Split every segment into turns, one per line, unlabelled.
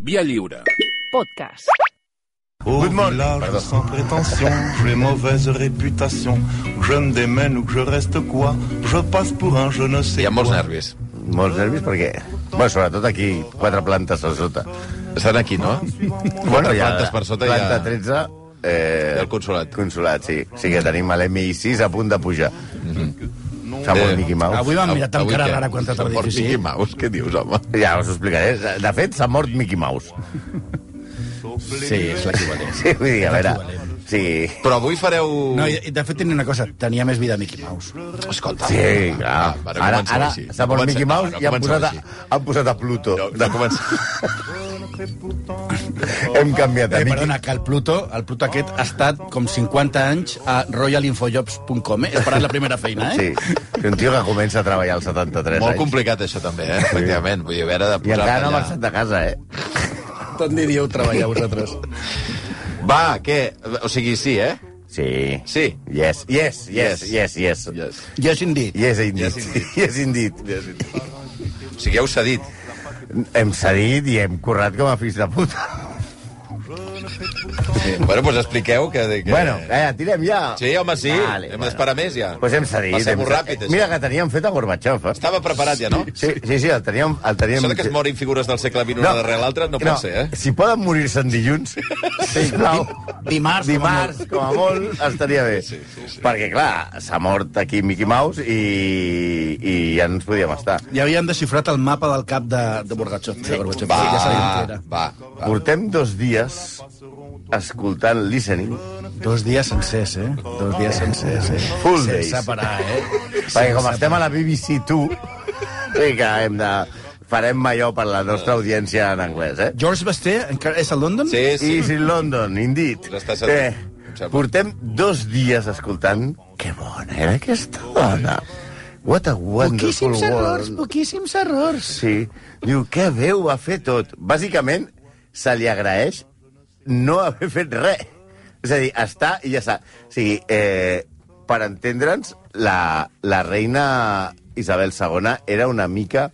Via lliure.
Podcast.
Au
Good morning.
village
Pardon.
sans prétention, j'ai mauvaise réputation. Que je me démène ou que je reste quoi, je passe pour un je ne sais
Hi ha molts
quoi.
nervis.
Molts nervis perquè... Bé, sobretot aquí, quatre plantes a sota.
Estan aquí, no? Quatre plantes per sota hi ha-
Planta 13... Eh,
Hi ha el consolat.
Consolat, sí. O sigui que tenim l'MI6 a punt de pujar. Mm -hmm. Fa molt
Eh,
Mickey Mouse.
Avui m'han mirat amb
Avui
cara
què?
rara quan t'ha
Mort
dit.
sigui Maus, què dius, home?
Ja us ho explicaré. De fet, s'ha mort Mickey Mouse.
Sí, és l'equivalent.
Sí, vull dir, a veure... Sí,
Però avui fareu...
No, i- i de fet, tenia una cosa, tenia més vida Mickey Mouse.
Escolta,
sí, clar.
Ah, va,
Ara,
comencem
ara
així.
s'ha mort
Comencem-
Mickey Mouse
no,
i han
comencem
posat, a,
així.
han posat a Pluto.
No, no comencem...
Hem canviat a
Eh,
Mickey.
perdona, que el Pluto, el Pluto aquest ha estat com 50 anys a royalinfojobs.com, eh? Esperant la primera feina, eh?
Sí, un tio que comença a treballar als 73
Molt
anys.
complicat, això, també, eh? Efectivament. Vull dir, a veure, de
I
posar
encara no ha
allà.
marxat de casa, eh?
Tot ni dieu treballar vosaltres.
Va, què? O sigui, sí, eh?
Sí.
Sí.
Yes, yes, yes, yes, yes.
Yes.
Yes, indeed.
Yes, indeed.
Yes, indeed.
Yes, indeed.
O sigui, ja us he dit.
Hem cedit i hem currat com a fills de puta.
Sí. Bueno, doncs expliqueu que... que...
Bueno, eh, tirem ja.
Sí, home, sí.
Vale,
Hem
bueno.
d'esperar més, ja.
Pues hem cedit.
Passa
hem
molt
cedit.
ràpid, això.
Mira que teníem fet a Gorbachev, eh?
Estava preparat ja, no?
Sí, sí, sí, el teníem... El teníem...
Això de que es morin figures del segle XX una darrere l'altra no, pot ser, eh?
Si poden morir-se en dilluns, sisplau,
Dimarts, com a
dimarts,
molt.
com a molt, estaria bé.
Sí, sí, sí.
Perquè, clar, s'ha mort aquí Mickey Mouse i, i ja no ens podíem estar.
Ja havien desxifrat el mapa del cap de, de Borgatxó. De Borgatxó.
Va,
ja sabien què
va,
era.
va.
Portem dos dies escoltant listening
Dos dies sencers, eh? Dos dies sencers, eh?
Full
Sense
days.
parar, eh?
Perquè com estem a la BBC2, sí que hem de... farem allò per la nostra audiència en anglès, eh?
George Basté encara és a London?
Sí, sí.
Is in London, indeed. Eh,
L'està sentint, em sembla.
portem dos dies escoltant... Que bona era aquesta dona! What a wonderful
Poquíssims errors,
world!
poquíssims errors.
Sí. Diu, que bé ho va fer tot. Bàsicament, se li agraeix no haver fet res. És a dir, està i ja està. O sigui, eh, per entendre'ns, la, la reina Isabel II era una mica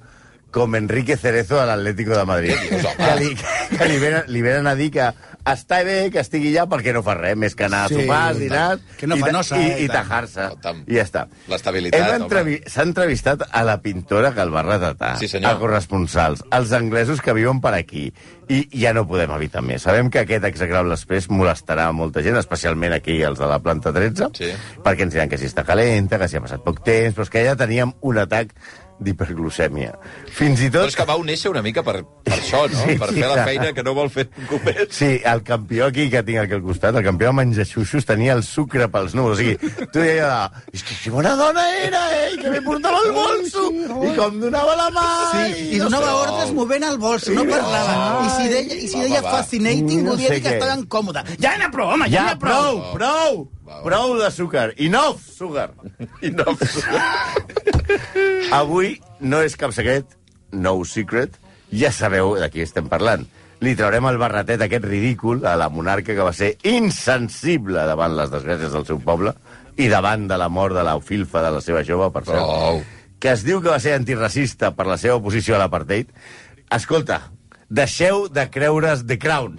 com Enrique Cerezo a l'Atlético de Madrid. Que li, que li, venen, li venen a dir que està bé que estigui allà perquè no fa res, més que anar a
Sí,
sopar, dinars...
que no
i
fa
ta-
nosa, eh,
I,
i
i
tant.
tajar-se.
Escolta'm,
I ja està.
l'estabilitat,
Hem
home.
entrevi- S'ha entrevistat a la pintora que el va retratar,
Sí, senyor.
a corresponsals, als anglesos que viuen per aquí. I ja no podem evitar més. Sabem que aquest execrable després molestarà a molta gent, especialment aquí, els de la planta 13,
Sí.
perquè ens diran que si està calenta, que si ha passat poc temps, però és que ja teníem un atac d'hiperglucèmia. Fins i
Però
tot...
és que vau néixer una mica per, per això, no?
Sí,
per
sí,
fer la
clar.
feina que no vol fer ningú més.
Sí, el campió aquí que tinc aquí al costat, el campió de menjar xuxos, tenia el sucre pels núvols. O sigui, tu deia, és que si bona dona era, eh, i que me portava el bolso, i com donava la mà...
Sí, i donava
no.
ordres movent el bolso, no parlava. I si deia, i si
Va,
deia
va, va.
fascinating,
No
volia
sé
dir que
què.
estava incòmoda. Ja n'hi ha prou, home, ja
Ja,
n'hi ha prou.
prou, prou, prou de sucar. Enough, sugar.
I no...
Avui no és cap secret, no secret, ja sabeu de qui estem parlant. Li traurem el barretet aquest ridícul a la monarca que va ser insensible davant les desgràcies del seu poble i davant de la mort de la filfa de la seva jove, per cert,
Prou.
que es diu que va ser antiracista per la seva oposició a l'apartheid. Escolta, deixeu de creure's The Crown.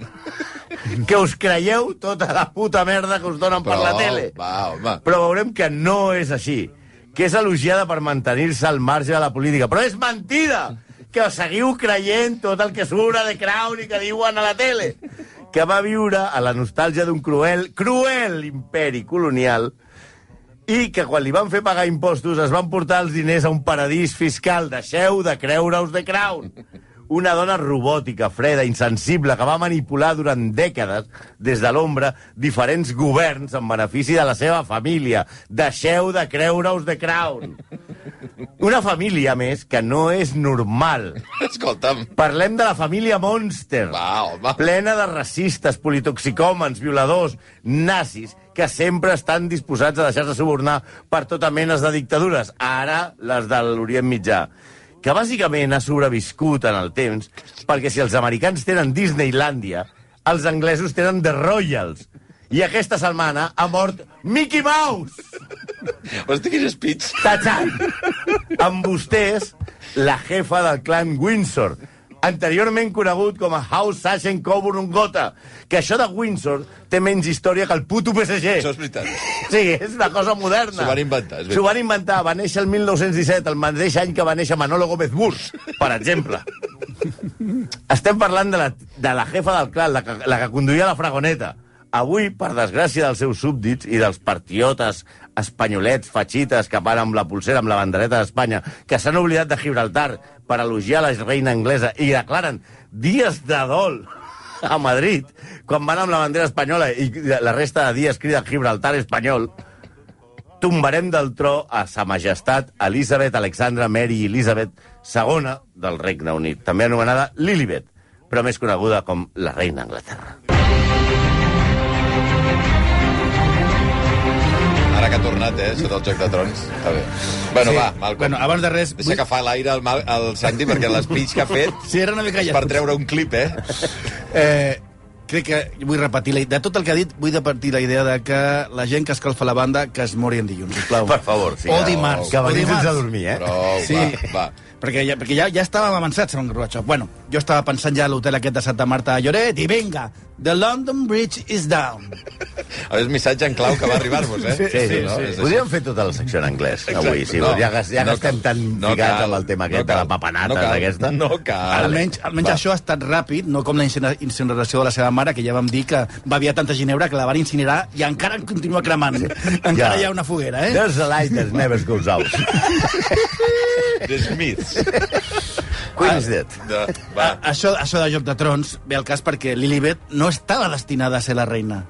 Que us creieu tota la puta merda que us donen per la
Prou,
tele
Va, home.
però veurem que no és així, que és elogiada per mantenir-se al marge de la política. Però és mentida que seguiu creient tot el que surt a The Crown i que diuen a la tele, que va viure a la nostàlgia d'un cruel, cruel imperi colonial i que quan li van fer pagar impostos es van portar els diners a un paradís fiscal. Deixeu de creure-us de Crown. Una dona robòtica, freda, insensible, que va manipular durant dècades, des de l'ombra, diferents governs en benefici de la seva família. Deixeu de creure-us de Crown. Una família, a més, que no és normal.
Escolta'm.
Parlem de la família Monster.
Va, home.
Plena de racistes, politoxicòmens, violadors, nazis, que sempre estan disposats a deixar-se subornar per tota menes de dictadures. Ara, les de l'Orient Mitjà. Que bàsicament ha sobreviscut en el temps perquè si els americans tenen Disneylandia, els anglesos tenen The Royals. I aquesta setmana ha mort Mickey Mouse!
Hosti, quin speech.
Tachan! Amb vostès, la jefa del clan Windsor, anteriorment conegut com a House Sachsen Coburn Gotha, que això de Windsor té menys història que el puto PSG.
Això és veritat.
Sí, és una cosa moderna.
S'ho van inventar, és veritat.
S'ho van inventar. Va néixer el 1917, el mateix any que va néixer Manolo Gómez Burs, per exemple. Estem parlant de la, de la jefa del clan, la que, la que conduïa la fragoneta. Avui, per desgràcia dels seus súbdits i dels partiotes espanyolets, fatxites, que van amb la pulsera, amb la bandereta d'Espanya, que s'han oblidat de Gibraltar per elogiar la reina anglesa i declaren dies de dol a Madrid, quan van amb la bandera espanyola i la resta de dies crida Gibraltar espanyol, tombarem del tro a sa majestat Elisabet Alexandra Mary Elisabet II del Regne Unit, també anomenada Lilibet, però més coneguda com la reina d'Anglaterra.
Ara que ha tornat, eh, sota el Joc de Trons. Està bé. Bueno,
Sí.
va, Malcolm.
Bueno, abans de res,
Deixa
vull-
que fa l'aire el, Mal- el Santi, perquè les pits que ha fet
Sí, era una mica
és
ja.
per treure un clip, eh?
Eh, crec que vull repetir... La, de tot el que ha dit, vull repetir la idea de que la gent que escalfa la banda que es mori en dilluns, sisplau.
Per favor, sí.
o dimarts.
Que
o
venim
dimarts.
sense dormir, eh?
Però,
Sí.
va,
Perquè ja, perquè ja, ja estàvem avançats, segons Gorbachev. Bueno, jo estava pensant ja a l'hotel aquest de Santa Marta a Lloret i vinga, the London Bridge is down.
va. A veure, missatge en clau que va arribar-vos, eh?
Sí, sí,
no? És
sí.
així.
Podríem fer tota la secció en anglès, avui, sí.
No,
No, ja que, ja que
no
estem
cal.
tan
No
ficats
cal.
amb el
No
tema aquest de
cal.
la papanata
No cal.
d'aquesta.
No cal.
Almenys, almenys
Va.
això ha estat ràpid, no com la incine- incineració de la seva mare, que ja vam dir que va haver tanta ginebra que la van incinerar i encara en continua cremant. Encara
Ja.
hi ha una foguera, eh?
There's a light that never goes out.
The Smiths.
Queen's dead.
Ah, De... Va.
A, això, això de Joc de Trons ve al cas perquè Lilibet no estava destinada a ser la reina.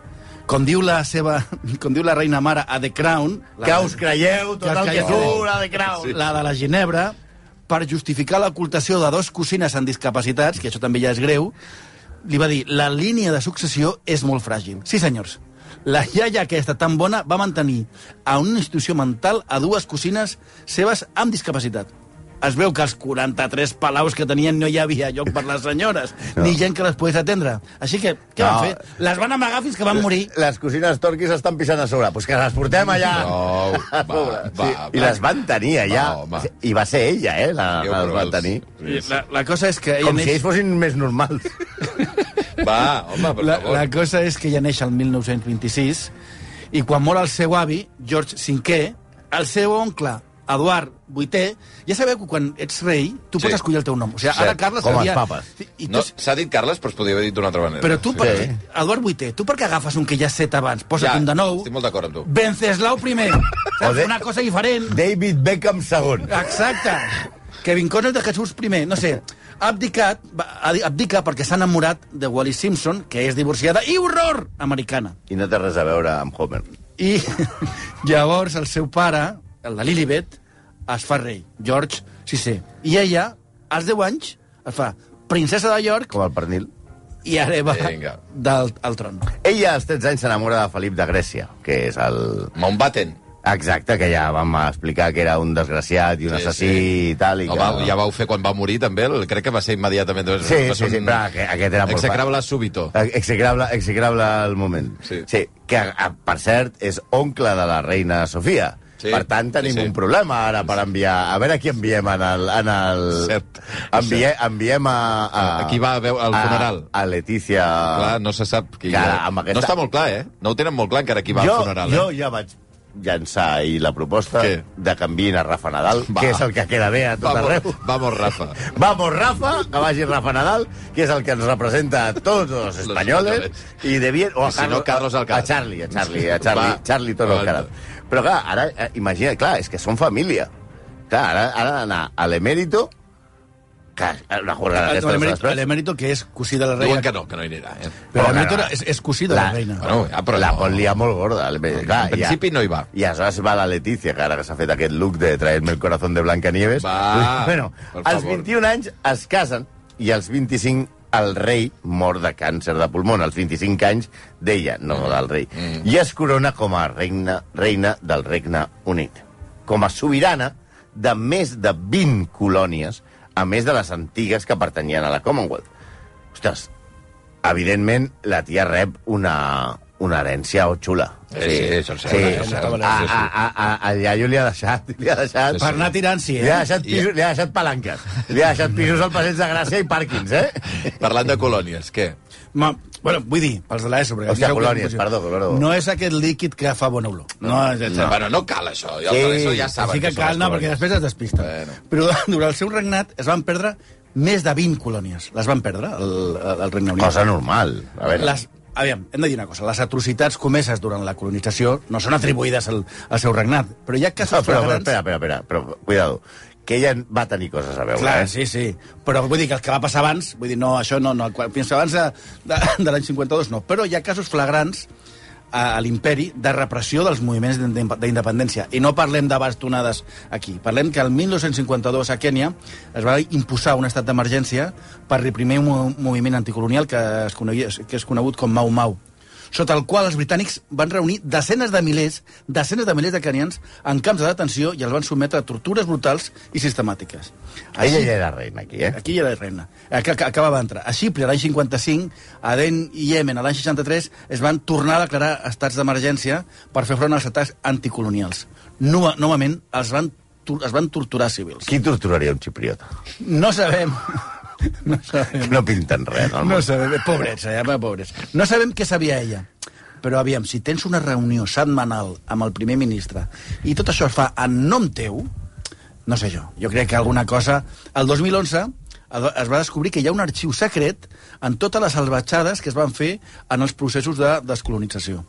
Com diu la seva... Com diu la reina mare a The Crown... La,
Que us creieu tot
Que us
el que
creieu.
surt a The Crown.
Sí. la de la Ginebra, per justificar l'ocultació de dos cosines amb discapacitats, que això també ja és greu, li va dir, la línia de successió és molt fràgil. Sí, senyors. La iaia aquesta tan bona va mantenir a una institució mental a dues cosines seves amb discapacitat. Es veu que els 43 palaus que tenien no hi havia lloc per les senyores, no. ni gent que les pogués atendre. Així que, què no.
No.
van fer? Les van amagar fins que van morir.
les cosines torquis estan pisant a sobre. Pues que les portem allà.
No,
a
va,
sobre.
va,
sí. I
va.
les van tenir allà.
Va, home.
I va ser ella, eh, la,
Déu,
la
però
les van
els-
tenir.
La, la cosa és que... ella
Com si
neix-
ells fossin més normals.
Va, home, per
la,
favor.
la cosa és que ja neix el 1926 i quan mor el seu avi, George V, el seu oncle, Eduard VIII, ja sabeu que quan ets rei tu
Sí.
sí. pots escollir el teu nom. O sigui, ara
Cert,
Carles
com els
havia...
papes.
I, i
No,
tu,
s'ha dit Carles, però es podia haver dit d'una altra manera.
Però tu, per,
Sí.
Eduard VIII, tu per què agafes un que ja has set abans? Posa't
Ja,
un de nou.
estic molt d'acord amb tu.
Venceslau primer.
O de-
Saps? Una cosa diferent.
David Beckham II.
Exacte. Kevin Connor de Jesús primer, no sé. Ha abdicat, va, ha- abdica perquè s'ha enamorat de Wallis Simpson, que és divorciada i horror americana.
I no té res a veure amb Homer.
I llavors el seu pare, el de Lilibet, es fa rei, George VI. I ella, als 10 anys, es fa princesa de York
Com el pernil.
i hereva
Vinga.
del al tron.
Ella, als 13 anys, s'enamora de Felip de Grècia, que és el,
Mountbatten.
Exacte, que ja vam explicar que era un desgraciat i un
Sí,
sí, assassí
sí.
i tal. I
No,
que...
va, ja vau fer quan va morir, també. El, crec que va ser immediatament. va
Sí,
ser
sí,
un-
sí, però aqu- aquest era molt
Execrable súbito.
fàcil. Execrable, execrable el moment.
Sí.
sí que, a- per cert, és oncle de la reina Sofia.
Sí,
Sí, per tant, tenim
sí,
sí,
sí.
sí. un problema ara per enviar... A veure qui enviem en el... En el...
Cert,
Envie, Enviem a, a...
A qui va a veure el funeral?
A, a Letícia...
Clar, no se sap qui...
Clar, Ah. amb aquesta-
No està molt clar, eh? No ho tenen molt clar encara qui va
jo,
al funeral.
Jo
Eh?
ja vaig llançar ahir la proposta
Què?
de canviïn a Rafa Nadal,
Va.
va. que és el que queda bé a tot
Vamos,
arreu.
vamos, Rafa.
Vamos, Rafa, que vagi Rafa Nadal, que és el que ens representa a tots els espanyols,
espanyoles.
i de bien... O
I si no, Carlos Alcaraz.
A Charlie, a Charlie, a Charlie,
Va.
Charlie tot
Va,
el carat. Però clar, ara, eh, imagina, clar, és que són família. Clar, ara, ara anar a l'emèrito, que una
Ah,
jornada d'aquestes les
L'emèrito-
després...
L'emèrito, que és cosí de la
Diuen
reina...
que no, que no hi anirà. Eh?
Però
Però
l'emèrito
que no.
és, és cosí de la,
La-
reina.
Bueno, ja, però
la
no.
pot liar molt gorda. l'emèrito. Clar,
En principi no hi va.
I aleshores va la Letícia, que ara que s'ha fet aquest look de traer-me el corazón de Blancanieves.
Va,
bueno,
per
als
favor.
21 anys es casen i als 25 el rei mor de càncer de pulmón. Als 25 anys d'ella, no
Mm.
del rei. I es corona com a reina, reina del Regne Unit. Com a sobirana de més de 20 colònies, a més de les antigues que pertanyien a la Commonwealth. Ostres, evidentment, la tia rep una, una herència o xula.
Eh, sí, Ah, això em sembla, això em
sí.
sembla,
A,
sí, sí.
a, a, a, al iaio li ha deixat... Li ha deixat...
Per anar tirant, sí, eh?
Li ha deixat, pisos, li ha deixat palanques. Li ha deixat pisos al passeig de Gràcia i pàrquings, eh?
Parlant de colònies, què?
Ma, bueno, vull dir, pels de l'ESO. perquè
Hòstia,
aquí
colònies,
confusió.
perdó, perdó.
No és aquest líquid que fa bona olor. No, és, és,
No. Ah, Bueno, no cal això, el
Sí.
sí. això ja saben.
sí que
són
cal,
les
no, perquè
colònies.
després es despista.
Bueno.
Bueno. Però durant el seu regnat es van perdre més de 20 colònies. Les van perdre, el, el Regne Unit.
Cosa normal. A veure,
Les, aviam, hem de dir una cosa. Les atrocitats comeses durant la colonització no són atribuïdes al, al seu regnat, però hi ha casos
No, però, però,
flagrants...
espera, espera, espera, però, cuidado, que ella va tenir coses a veure,
Clar,
eh?
sí, sí. Però vull dir que el que va passar abans, vull dir, no, això no, no, quan- fins abans de, de, de l'any 52 no. Però hi ha casos flagrants a, a l'imperi de repressió dels moviments d'inde- d'independència. I no parlem de bastonades aquí. Parlem que el 1952 a Kènia es va imposar un estat d'emergència per reprimir un mo- moviment anticolonial que es, conegui, que és conegut com Mau Mau sota el qual els britànics van reunir decenes de milers, decenes de milers de canians en camps de detenció i els van sotmetre a tortures brutals i sistemàtiques.
Ella ja era reina, aquí, eh?
Aquí ja era reina. Ac- ac- Acabava d'entrar. A Xipre, l'any 55, a Aden i Yemen, a l'any 63, es van tornar a declarar estats d'emergència per fer front als atacs anticolonials. Nova, novament, els van, tor- es van torturar civils.
Qui torturaria un xipriota?
No sabem... No sabem.
Que no pinten res, no?
No sabem, eh, pobrets, eh, home, pobrets. No sabem què sabia ella. Però aviam, si tens una reunió setmanal amb el primer ministre i tot això es fa en nom teu, no sé jo, jo crec que alguna cosa... El 2011 el- es va descobrir que hi ha un arxiu secret en totes les salvatjades que es van fer en els processos de descolonització.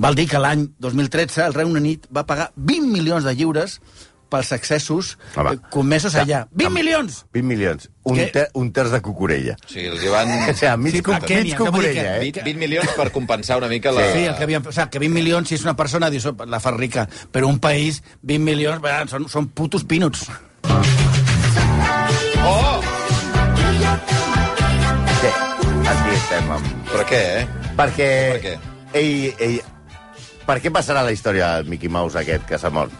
Val dir que l'any 2013 el Regne Unit va pagar 20 milions de lliures pels excessos
Home,
eh, comesos
ja,
allà. 20
amb-
milions!
20 milions. Un,
Què?
ter un terç de cucurella.
O sigui, els hi van...
Eh, O sigui, mig,
Sí,
sí, cu
a Kènia,
mig
que vull dir
cucurella,
20,
eh?
que-
20 milions per compensar una mica la...
Sí, el que, havia, o sea, que 20 milions, si és una persona, dius, "Oh, la fa rica. Però un país, 20 milions, bah, són, són putos pinuts.
Oh!
¿eh? Sí, aquí estem. Amb...
Però què, eh?
Perquè...
Per què?
Ei, ei, per què passarà la història del Mickey Mouse aquest que s'ha mort?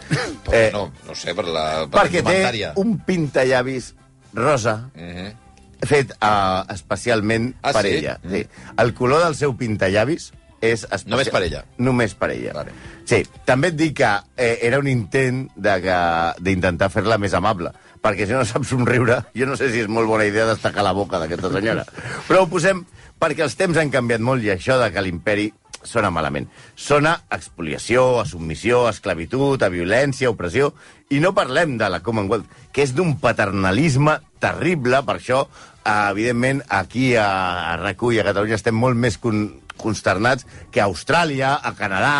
Perquè
Eh,
eh, no, no ho sé, per la... Per
perquè té un pintallavis rosa
Mm -hmm.
fet uh, especialment
Ah,
ah, per
sí? Mm.
ella. Sí. El color del seu pintallavis és... Especial...
Només per ella.
Només per ella.
Vale.
Sí, també et dic que eh, era un intent de que- d'intentar fer-la més amable, perquè si no sap somriure, jo no sé si és molt bona idea destacar la boca d'aquesta senyora. Però ho posem perquè els temps han canviat molt i això de que l'imperi sona malament. Sona a expoliació, a submissió, a esclavitud, a violència, a opressió, i no parlem de la Commonwealth, que és d'un paternalisme terrible, per això, eh, evidentment, aquí a, a RAC1 i a Catalunya estem molt més con consternats que a Austràlia, a Canadà,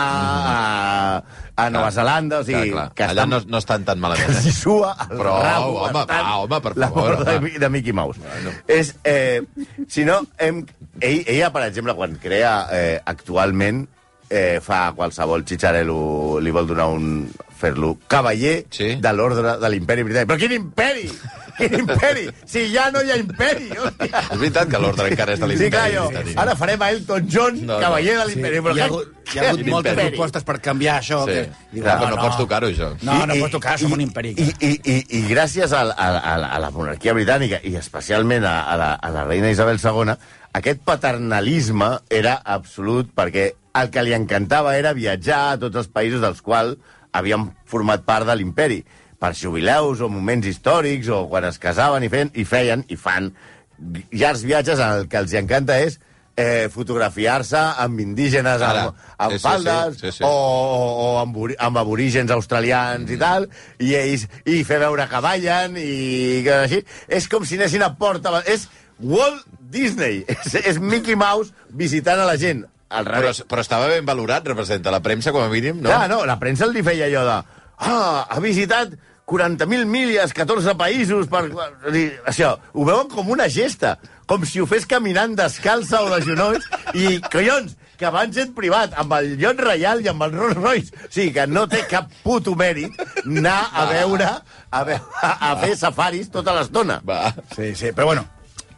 a, a Nova Zelanda, o
Sí, Mm. clar,
sigui,
clar.
que
Allà
estan
no, no estan tan malament.
que s'hi
Eh?
sua al
Però,
rabo
home,
bastant
va, home, per
la
favor,
mort de,
home.
Mi- de Mickey Mouse.
Bueno.
És, eh, si no, hem, ell, ella, per exemple, quan crea eh, actualment, eh, fa qualsevol xitxarelo, li vol donar un fer-lo cavaller
Sí.
de l'ordre de l'imperi britànic. Però quin imperi! Quin imperi! Si ja no hi ha imperi! Hòstia.
És veritat que l'ordre encara és de
Sí, clar,
l'imperi.
jo.
britànic.
Ara farem a Elton John,
No,
no,
no.
cavaller de
Sí,
l'imperi.
hi ha,
Però
hagut, hi ha
què-
hagut
quin
moltes
imperi?
propostes per canviar això.
Sí.
Que, diu,
Clar, però no pots tocar-ho, això.
No, no
I-
pots tocar, som un imperi.
I, i, i, i gràcies a, a, a, a la monarquia britànica, i especialment a, a, la, a la reina Isabel II, aquest paternalisme era absolut, perquè el que li encantava era viatjar a tots els països dels quals havien format part de l'imperi, per jubileus o moments històrics, o quan es casaven i, feien, i feien, i fan llargs viatges, en el que els hi encanta és eh, fotografiar-se amb indígenes,
Ara.
amb, amb
Sí, sí, sí,
faldes,
sí, sí.
o o, o amb, ori- amb aborígens australians mm. i tal, i ells i fer veure que ballen i que així. És com si anessin a Porta... És Walt Disney. És, és Mickey Mouse visitant a la gent. Al
Però,
revés.
però estava ben valorat, representa la premsa, com a mínim, no?
Però, no? no, la premsa li feia allò de... Ah, ha visitat 40.000 milles, 14 països... Per... o sigui, Això, ho veuen com una gesta, com si ho fes caminant descalça o de genolls, i, collons, que va en jet privat, amb el John Reial i amb el Rolls Royce. O sigui, que no té cap puto mèrit anar a veure, a, veure, a, a fer safaris tota l'estona.
Va.
Sí, sí, però bueno,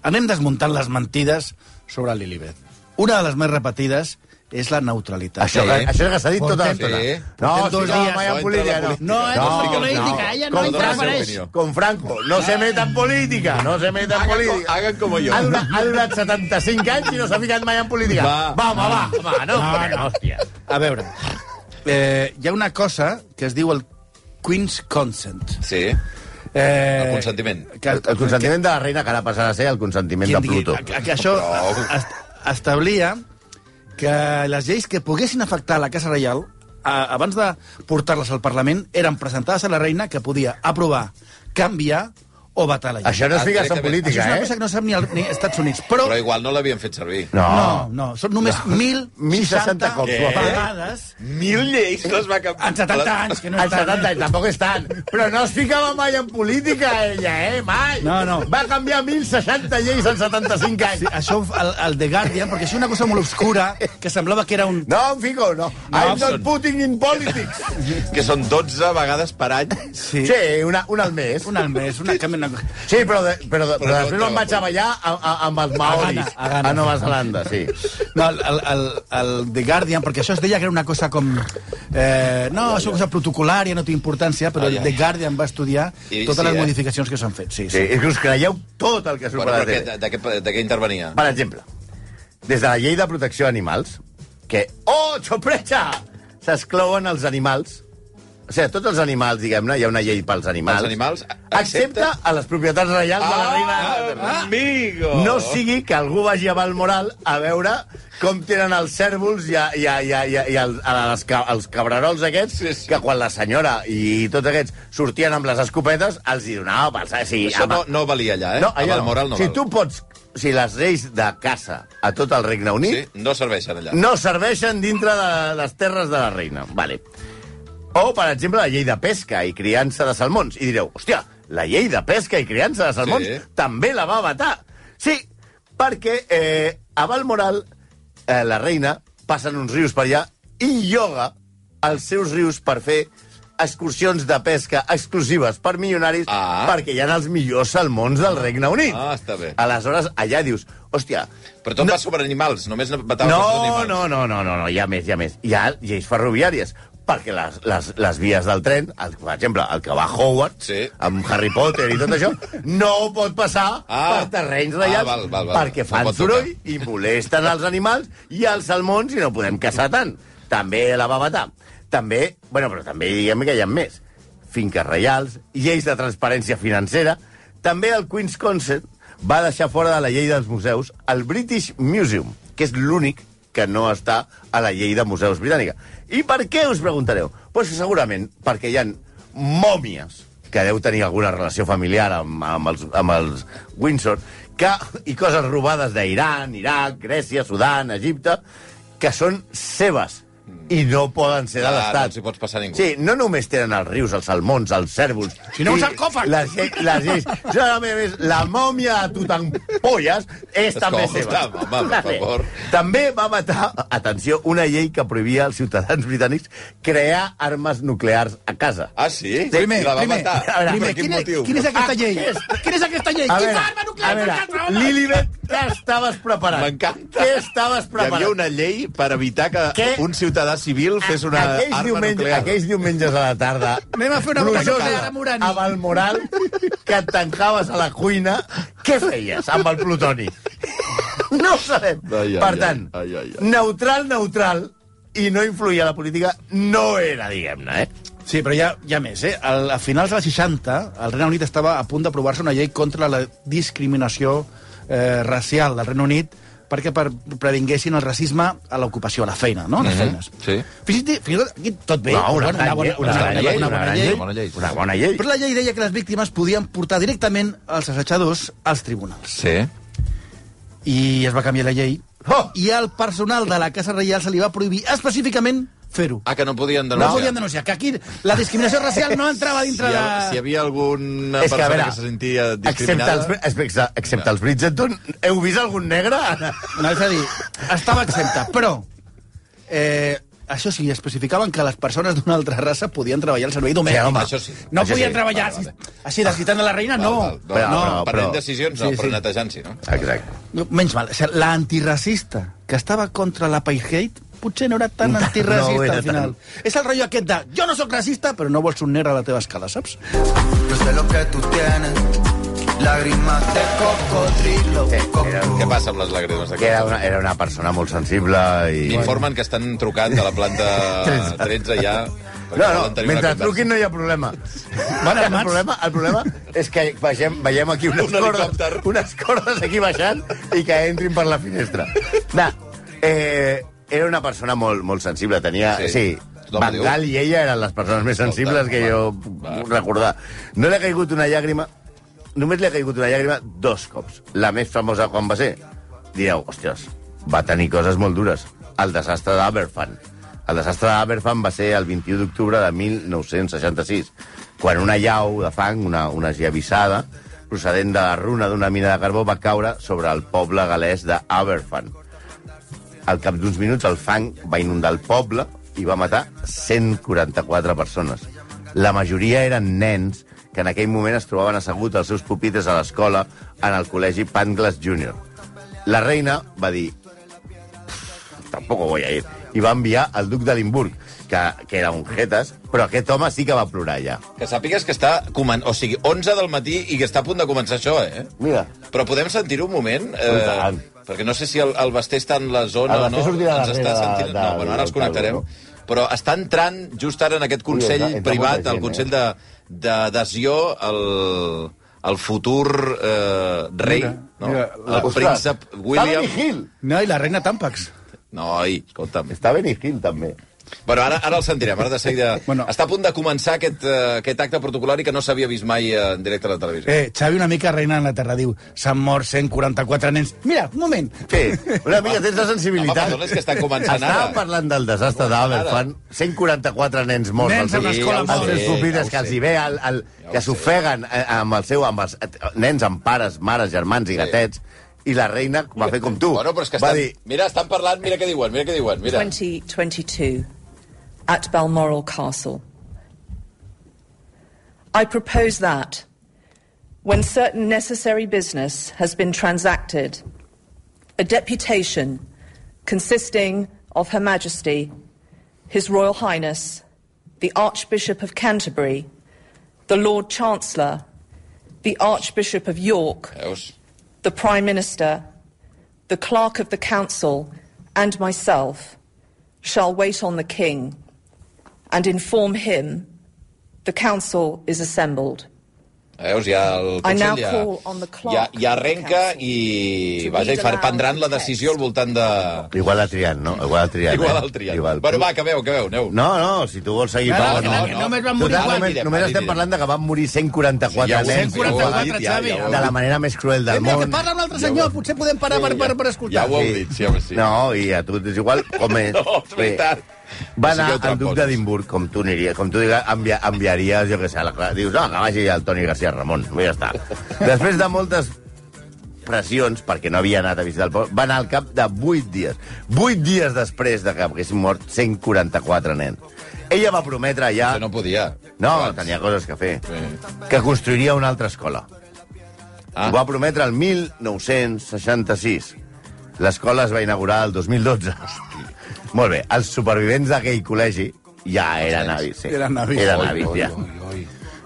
anem desmuntant les mentides sobre l'Ilibet. Una de les més repetides és la neutralitat.
Això,
Ah, Sí.
això és el que s'ha dit tota
Portem-
l'estona.
Sí.
No,
Portem
sí,
dos
no,
dies.
mai en
No
política,
entra
no.
en política. No
entra en
política,
ella no
con
entra
Franco,
per
això.
Con Franco, no se meta en política, no se meta en política.
Hagan com jo.
Ha durat, ha durat 75 anys i no s'ha ficat mai en política.
Va.
va, home, va, va, no, no, no hòstia.
A veure, eh, hi ha una cosa que es diu el Queen's Consent.
Sí.
Eh,
El consentiment.
Que,
El, el consentiment de la reina que ara passarà a ser el consentiment de
Quien digui-
Pluto.
a- a- Que això est- establia que les lleis que poguessin afectar la Casa Reial, a, abans de portar-les al Parlament, eren presentades a la reina que podia aprovar, canviar o vetar la llei.
Això no es fiques en
Directament.
Això és
política,
una cosa
eh?
que no sap ni, al, ni als Estats Units. Però,
Però igual no l'havien fet servir.
No.
no, no, són només 1.060
1.060 cops. eh?
Què?
vegades
Mil lleis les va cap...
en 70 anys, que no
Als
és tant.
70 anys tampoc és tant. Però no es ficava mai en política, ella, eh? Mai.
No, no.
Va canviar 1.060 lleis en 75 anys.
Sí, això el, el The Guardian, perquè això és una cosa molt obscura, que semblava que era un...
No, em fico, no. I'm not putting in politics.
Que són 12 vegades per any.
Sí, sí una, una al mes.
Un al mes, una... una...
Sí, però, de, però, de, però
no
després me'n
entrava
vaig a ballar a, a, amb els
A
maoris.
Ghana, a Ghana.
a Nova Zelanda, sí.
No, el, el, el, el The Guardian, perquè això es deia que era una cosa com... Eh, no, és una cosa protocolària, no té importància, però el The Guardian va estudiar
I
totes
sí,
les
eh?
modificacions que s'han fet. Sí,
sí.
sí.
És que us creieu tot el que surt
Bueno, però
per Ah, la
què,
tele.
de, de, què, de què intervenia?
Per exemple, des de la llei de protecció d'animals, que, oh, sorpresa, s'exclouen els animals. O sigui, tots els animals, diguem-ne, hi ha una llei pels animals.
Els animals,
Excepte
excepte- Ah,
a les propietats reials de la reina. d'Anglaterra.
amigo!
No sigui que algú vagi a Valmoral a veure com tenen els cèrvols i, a, i, a, i, a, i, a, i els, a les, ca- els cabrerols aquests,
Sí, sí.
que quan la senyora i tots aquests sortien amb les escopetes, els hi donava per... sa- Sí,
Això
home,
no, no valia allà, eh?
no,
a
allà no.
Valmoral no,
si
val.
tu pots... Si les lleis de caça a tot el Regne Unit
Sí, no serveixen allà.
no serveixen dintre de les terres de la reina. Vale. O, per exemple, la llei de pesca i criança de salmons. I direu, hòstia, la llei de pesca i criança de salmons
Sí.
també la va vetar. Sí, perquè eh, a Valmoral eh, la reina passen uns rius per allà i lloga els seus rius per fer excursions de pesca exclusives per milionaris
Ah.
perquè hi ha els millors salmons del Regne Unit.
Ah, està bé.
Aleshores, allà dius, hòstia,
Però tot va sobre animals, només no batava
no,
animals.
no, no, no, no, no, hi ha més, hi ha més. Hi ha lleis ferroviàries, perquè les, les, les vies del tren, el, per exemple, el que va a Howard,
Sí.
amb Harry Potter i tot això, no pot passar
Ah.
per terrenys reials,
Ah, val, val, val.
perquè
No
fan
pot
soroll
tocar.
i molesten els animals i els salmons i no podem caçar tant. També la va matar. També, bueno, però també diguem que hi ha més. Finques reials, lleis de transparència financera, també el Queen's Concert va deixar fora de la llei dels museus el British Museum, que és l'únic que no està a la llei de museus britànica. I per què, us preguntareu? Doncs pues segurament perquè hi ha mòmies que deu tenir alguna relació familiar amb, amb, els, amb els Windsor, que, i coses robades d'Iran, Iraq, Grècia, Sudan, Egipte, que són seves i no poden ser de
Clar,
l'Estat.
no els hi pots passar a ningú.
Sí, no només tenen els rius, els salmons, els cèrvols...
Si no,
i
us en cofen.
Les, lle- les lleis... Jo, a més, la mòmia de Tutampolles és
Escolta,
també seva.
home, per favor.
També va matar, atenció, una llei que prohibia als ciutadans britànics crear armes nuclears a casa.
Ah, sí?
Primer,
I la va
primer,
matar.
a veure,
per
Primer,
quin
quina,
motiu?
quina és aquesta llei? Quina és aquesta llei?
A
Quina
veure,
arma
a
nuclear?
veure, Lilibet, què estaves preparant?
M'encanta.
Què estaves
Hi
preparant?
havia una llei per evitar que
Què?
un ciutadà civil fes una
aquells
arma
diumenge,
nuclear.
Aquells diumenges a la tarda...
Anem a fer una
plujosa,
boca nuclear amb urani.
A Valmoral, que et tancaves a la cuina, què feies amb el plutoni? No ho sabem.
Ai, ai,
per
ai,
tant,
ai, ai, ai.
neutral, neutral, i no influir a la política no era, diguem-ne, eh?
Sí, però hi ha, hi ha més, eh? Al, a finals dels 60, el Regne Unit estava a punt d'aprovar-se una llei contra la discriminació eh, racial del Regne Unit perquè per, previnguessin el racisme a l'ocupació, a la feina, no? A les
Mhm,
feines.
sí.
Fins i tot- fins i tot aquí tot bé.
no, una,
Bueno,
gran llei, una, gran llei, una, gran llei,
una bona llei.
Una bona llei.
Però la llei deia que les víctimes podien portar directament els assetjadors als tribunals.
Sí.
I es va canviar la llei.
Oh!
I al personal de la Casa Reial se li va prohibir específicament fer-ho.
Ah, que no podien
No,
denunciar.
podien denunciar, que aquí la discriminació racial no entrava
Si,
dintre
hi
de...
ha, si hi havia alguna
És que, a
persona que,
veure,
se sentia
Excepte
discriminada...
els, excepte, excepte els Bridgerton, heu vist algun negre?
No, és a dir, estava exempta, però... Eh, això sí, especificaven que les persones d'una altra raça podien treballar al servei domèstic.
Sí, home,
això sí.
No
Això
podien
sí.
treballar
Vale, vale.
Així, així desquitant de la reina, no.
Val, val, val, però,
No, no,
prenent
però-
decisions, no,
Sí,
però
sí.
netejant-sí, no?
Exacte.
Menys mal. O sigui, l'antiracista que estava contra l'apartheid potser no era tan
No,
antiracista
no era
al final. És el rotllo aquest de jo no sóc racista, però no vols un negre a la teva escala, saps?
Yo sé lo que tú tienes, lágrimas de cocodrilo.
Sí, era,
Què passa amb les llàgrimes
que
d'aquest?
era, una, era una persona molt sensible i...
M'informen que estan trucant de la planta 13 ja. perquè
No,
volen
no,
tenir una
mentre
conversa.
truquin no hi ha problema. Bueno, el, problema el problema és que vegem, veiem aquí unes,
Un helicòpter.
cordes, unes cordes aquí baixant i que entrin per la finestra. Na, eh, era una persona molt, molt sensible, tenia...
Sí.
Sí. sí
No em diu.
Bangal i ella eren les persones més sensibles que jo puc
va.
recordar. No li ha caigut una llàgrima... Només li ha caigut una llàgrima dos cops. La més famosa quan va ser? Direu, hòsties, va tenir coses molt dures. El desastre d'Aberfan. El desastre d'Aberfan va ser el 21 d'octubre de 1966, quan una llau de fang, una, una esllavissada, procedent de la runa d'una mina de carbó, va caure sobre el poble galès d'Aberfan. Al cap d'uns minuts, el fang va inundar el poble i va matar 144 persones. La majoria eren nens que en aquell moment es trobaven asseguts als seus pupitres a l'escola en el col·legi Pangles Junior. La reina va dir tampoc voy a ir. I va enviar el duc de Limburg, que, que era un jetes, però aquest home sí que va plorar ja.
Que sàpigues que està... Comen... O sigui, 11 del matí i que està a punt de començar això, eh?
Mira,
Però podem sentir un moment? Eh,
I tant.
perquè no sé si el, el Basté està en la zona
El
o
Basté
no.
sortirà darrere
està
de-
sentint...
de-
no, bueno, ara els
del
connectarem.
taula,
Però està entrant just ara en aquest
Ui,
Consell
entra- entra
privat,
molta
el
gent, eh?
Consell de- d'adhesió al el futur eh, rei,
Mira,
no?
mira,
el príncep William...
Està Benny Hill!
No, i la reina Tampax.
Noi, escolta'm.
Està Benny Hill, també.
Bueno, ara, ara el sentirem, ara de seguida...
Bueno.
Està a punt de començar aquest, eh, aquest acte protocolari que no s'havia vist mai eh, en directe a la televisió.
Eh, Xavi una mica reina en la terra, diu, s'han mort 144 nens. Mira, un moment.
Sí, una mica tens la sensibilitat.
Home, perdona, és que estan començant
Estàvem
ara.
parlant del desastre d'Aberfan. 144 nens morts.
Nens a una
als-
escola
als
morts.
seus
Ja ho
pupitres
sé.
que els hi ve, el, el,
Ja ho
que
sé.
s'ofeguen eh, amb el seu... Amb els, eh, nens amb pares, mares, germans i gatets. I la reina va fer com tu.
Bueno, però és que
va
estan,
dir...
Mira, estan parlant, mira què diuen, mira què diuen. Mira.
Doncs- 2022 at Balmoral Castle. I propose that when certain necessary business has been transacted, a deputation consisting of Her Majesty, His Royal Highness, the Archbishop of Canterbury, the Lord Chancellor, the Archbishop of York,
Veus?
the Prime Minister, the Clerk of the Council, and myself shall wait on the King and inform him the Council is assembled.
Eh, Veus, ja el
I now
Consell ja,
call on the clock
ja, ja arrenca
of the
i,
council to
vaja, i
read
far,
aloud
prendran la
the text.
decisió al voltant de...
Igual a triant, no? Igual a triant.
Igual
eh?
al triat.
Igual.
Bueno, va, que veu, que veu, aneu.
No, no, si tu vols seguir
No,
parlant...
no, no, només van morir
Total,
quatre.
només, només estem parlant de que van morir 144
Ja ho sé,
nens.
ja ho heu
144,
dit, ja,
Xavi.
ja ho heu
De la
dit.
manera més cruel del
Eh, Mira, que
món.
parla amb l'altre senyor, potser podem parar per, per,
Ja
per escoltar.
ho heu dit, sí, home, sí.
No, i a tu és igual com és.
No, és veritat. No
Va anar
sigueu
al duc
tramposos.
d'Edimburg, com tu aniries, com tu digues, envia, enviaries, jo què sé, a la Clara. Dius, no, que vagi al Toni García Ramon, ja està. Després de moltes pressions, perquè no havia anat a visitar el poble, va anar al cap de 8 dies. 8 dies després de que haguessin mort 144 nens. Ella va prometre ja...
Que no podia.
No,
Abans.
tenia coses que fer.
Sí.
Que construiria una altra escola.
Ah.
Ah. Ho va prometre el 1966. L'escola es va inaugurar el 2012. Molt bé, els supervivents d'aquell col·legi ja eren
nens.
avis. Sí.
Eren avis.
Eren
Oi,
avis, ja.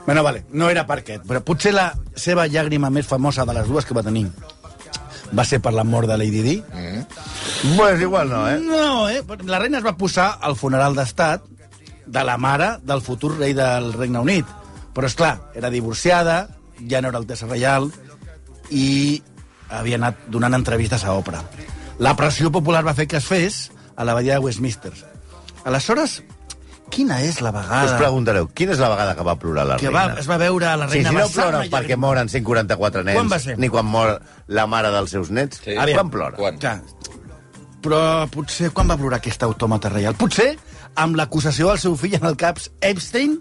Bueno, vale, no era per aquest, però potser la seva llàgrima més famosa de les dues que va tenir va ser per la mort de Lady Di.
Pues igual no, eh?
No, eh? La reina es va posar al funeral d'estat de la mare del futur rei del Regne Unit. Però, és clar, era divorciada, ja no era altesa reial i havia anat donant entrevistes a Oprah. La pressió popular va fer que es fes a la badia de Westminster. Aleshores, quina és la
Us
vegada
preguntareu, quina és la vegada que va plorar la
que va,
reina?
es va veure a la
Sí,
reina
si no
vessant
plora
una
perquè
llàgrima?
moren 144 nens,
Quan va ser?
ni quan mor la mare dels seus nets,
Sí.
quan
Aviam.
plora?
Quan?
Clar. Però potser quan va plorar aquest autòmata reial? Potser amb l'acusació del seu fill en el caps Epstein,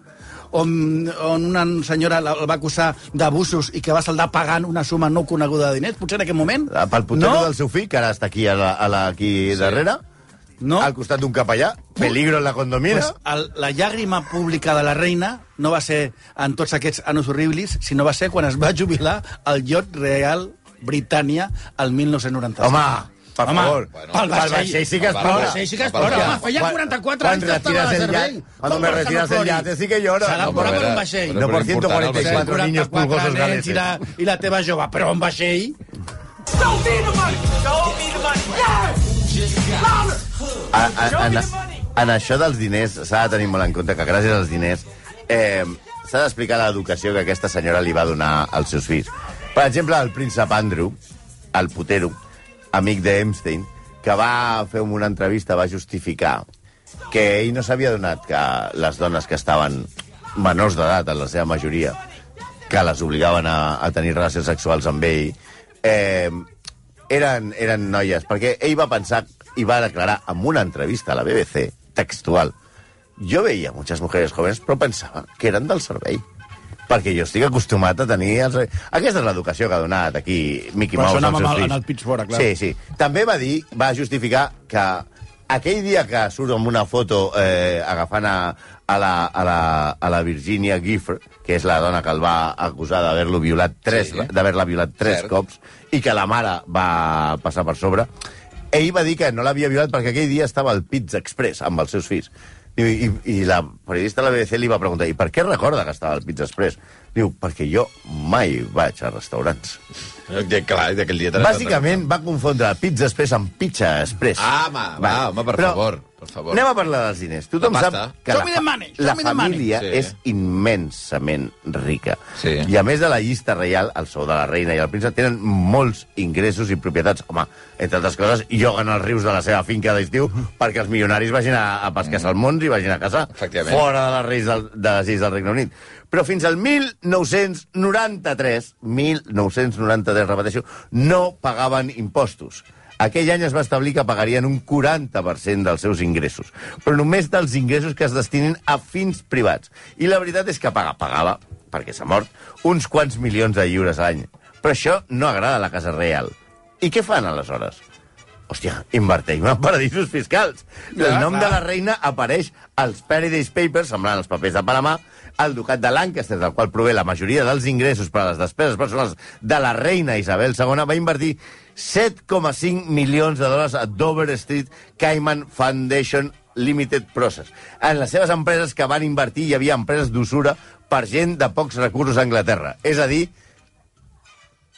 on, on una senyora la- el va acusar d'abusos i que va saldar pagant una suma no coneguda de diners? Potser en aquest moment?
Ah, Pel putero
no,
del seu fill, que ara està aquí, a la, a la, aquí darrere,
No.
al costat d'un capellà, peligro en la condomina...
Pues, el, la llàgrima pública de la reina no va ser en tots aquests anos horribles, sinó va ser quan es va jubilar al iot real Britània al 1997.
Home, Per
Home,
favor.
bueno,
pel
pel
vaixell.
vaixell.
sí que es
Pel
plora.
vaixell
sí que es
Home,
plora.
perquè-
Home, feia 44
quan
anys que estava
retiras
de
el
servei.
yate,
Com
Cuando me
vols que no
retiras el
plori?
yate, sí que llora.
Serà
No,
un programa amb
però a veure,
vaixell.
No, por
però important, el
144
vaixell.
niños
44
pulgosos eh.
nens i la,
galeses.
i la teva jove, però amb vaixell.
a, a, en, en això dels diners s'ha de tenir molt en compte que gràcies als diners eh, s'ha d'explicar l'educació que aquesta senyora li va donar als seus fills. Per exemple, el príncep Andrew, el putero, amic d'Epstein, que va fer una entrevista, va justificar que ell no s'havia donat que les dones que estaven menors d'edat, en la seva majoria, que les obligaven a, a tenir relacions sexuals amb ell, eh, eren, eren noies, perquè ell va pensar i va declarar en una entrevista a la BBC, textual, jo veia muchas mujeres jóvenes, però pensava que eren del servei perquè jo estic acostumat a tenir... Els... Aquesta és l'educació que ha donat aquí Mickey
Però
Mouse
això
als
anava
seus
mal-
fills.
en el Pittsburgh, clar.
Sí, sí. També va dir, va justificar que aquell dia que surt amb una foto eh, agafant a, a, la, a, la, a la Virginia Gifford, que és la dona que el va acusar d'haver-lo violat tres,
Sí.
sí. d'haver-la violat tres
Cert.
Cert. cops, i que la mare va passar per sobre, ell va dir que no l'havia violat perquè aquell dia estava al Pizza Express amb els seus fills. Diu, i, I la periodista de la BBC li va preguntar i per què recorda que estava al Pizza Express? Diu, perquè jo mai vaig a restaurants.
Ja, Eh, clar, d'aquell dia... t'has
Bàsicament va confondre Pizza Express amb Pizza Express.
Ah, home, va,
Vale.
home, per favor, per favor.
Anem a parlar dels diners. Tothom
La
sap
pasta.
que
Show
la,
me
fa-
the money, show
la
me the money.
família
Sí.
és immensament rica.
Sí.
I a més de la llista reial, el sou de la reina i el príncep tenen molts ingressos i propietats. Home, entre altres coses, lloguen els rius de la seva finca d'estiu perquè els milionaris vagin a, a pescar
Mm.
salmons i vagin a casa
Efectivament.
fora de les, reis del, de les lleis del Regne Unit. Però fins al 1993, 1993, repeteixo, no pagaven impostos. Aquell any es va establir que pagarien un 40% dels seus ingressos, però només dels ingressos que es destinin a fins privats. I la veritat és que paga, pagava, perquè s'ha mort, uns quants milions de lliures a l'any. Però això no agrada a la Casa Real. I què fan, aleshores? Hòstia, invertim en paradisos fiscals. el nom de la reina apareix als Paradise Papers, semblant als papers de Panamà, al ducat de Lancaster, del qual prové la majoria dels ingressos per a les despeses personals de la reina Isabel II, va invertir 7,5 milions de dòlars a Dover Street Cayman Foundation Limited Process. En les seves empreses que van invertir hi havia empreses d'usura per gent de pocs recursos a Anglaterra. És a dir,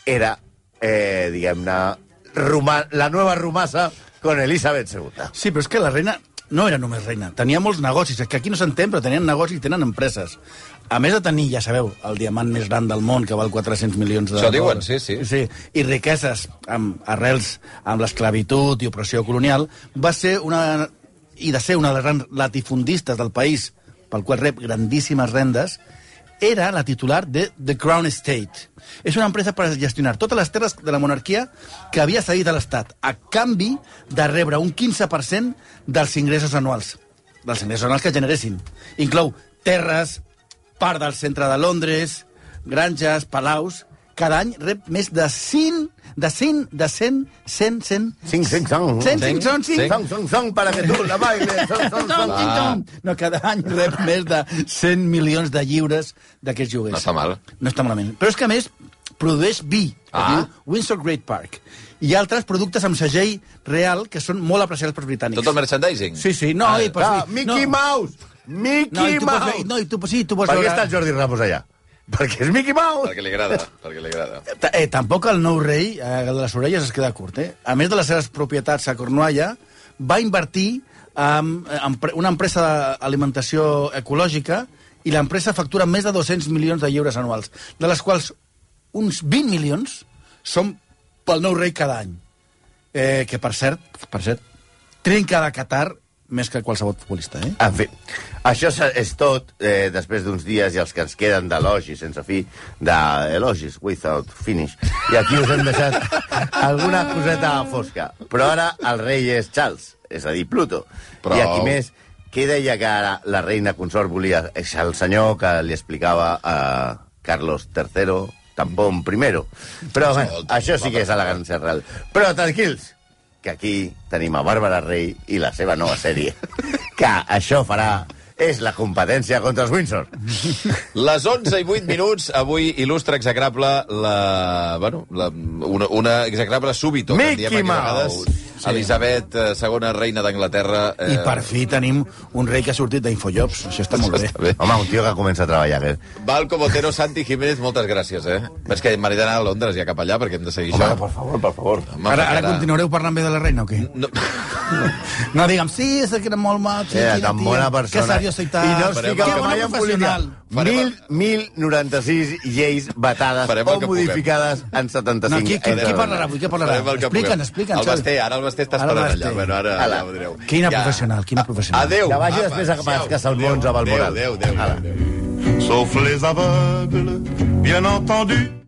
era, eh, diguem-ne, Roma- la nueva rumasa con Elizabeth II.
Sí, però és que la reina no era només reina, tenia molts negocis, és que aquí no s'entén, però tenien negocis i tenen empreses. A més de tenir, ja sabeu, el diamant més gran del món, que val 400 milions de
Això diuen,
dòlars.
sí, sí.
sí. I riqueses amb arrels amb l'esclavitud i opressió colonial, va ser una... i de ser una de les grans latifundistes del país, pel qual rep grandíssimes rendes, era la titular de The Crown Estate. És una empresa per gestionar totes les terres de la monarquia que havia cedit a l'Estat, a canvi de rebre un 15% dels ingressos anuals, dels ingressos anuals que generessin. Inclou terres, part del centre de Londres, granges, palaus... Cada any rep més de 100, de 100, de 100, 100, 100...
Cinc, cinc, cinc.
100, 5, 5, 5,
Son, son, son, para que tú la bailes. Son, son, son. Ah.
no, cada any rep més de 100 milions de lliures d'aquests joguers.
No està mal.
No està malament. Però és que, a més, produeix vi, que
Ah.
diu Windsor Great Park, i altres productes amb segell real que són molt apreciats pels britànics.
Tot el merchandising?
Sí, sí, no, i pots
Ah,
dir-
Mickey
no.
Mouse!
No, i
Mickey
tu pots
Mouse!
dir- no, i tu- sí, tu pots
Per què
veure-
està el Jordi Ramos allà? Perquè és Mickey Mouse!
Perquè li agrada, perquè li agrada.
Ta- eh, tampoc el nou rei, eh, el de les orelles, es queda curt. Eh? A més de les seves propietats a Cornualla, va invertir en, en pre- una empresa d'alimentació ecològica i l'empresa factura més de 200 milions de lliures anuals, de les quals uns 20 milions són pel nou rei cada any. Eh, que, per cert, per cert, trinca de Qatar més que qualsevol futbolista, eh?
En fi, Ah, això se- és tot eh, després d'uns dies i els que ens queden d'elogis sense fi, d'elogis without finish. I aquí us hem deixat alguna coseta fosca. Però ara el rei és Charles, és a dir, Pluto.
Prou.
Però... I aquí més, què deia que ara la reina consort volia? És el senyor que li explicava a Carlos III, Tampón I. Però bé,
Escolta,
això sí que és elegància real. Però tranquils, que aquí tenim a Bàrbara Rey i la seva nova sèrie, que això farà és la competència contra els Windsor.
Les 11 i 8 minuts, avui il·lustra execrable la... Bueno, la, una, una execrable súbito. que en diem
Mickey
aquí a
Mouse.
vegades. Elisabet eh, II, reina d'Anglaterra. Eh,
I per fi tenim un rei que ha sortit d'Infojobs. Això està molt bé.
Està bé.
Home, un tio que comença a treballar, que...
Valco Botero, Santi Jiménez, moltes gràcies, eh? És que m'haré d'anar a Londres ja cap allà perquè hem de seguir Home, això. per favor, per favor.
Ara, ara continuareu parlant bé de la reina o què?
No,
No diguem, sí, és que era molt maco.
Era tan bona persona.
Que seriós i tal.
I no es
Farem
ficava
el que
mai en política.
professional.
Farem
Mil- 1.096 lleis vetades
Farem el
o
que puguem.
modificades en 75.
No, qui- qui-
entre
qui
les
parlarà
dones.
avui? Què parlarà?
farem el que
Explica'ns,
puguem.
explica'ns,
El Basté,
Xavi.
ara el Basté està
Ara el
esperant
Basté.
allà. Bueno, ara,
Ala.
ara ho direu.
Quina professional, quina professional.
Adéu.
Que vagi
apa,
després a pescar salmons
adéu,
a Balmoral.
Adéu, adéu, adéu.
Ala.
adéu.
Sauf les aveugles, bien entendu.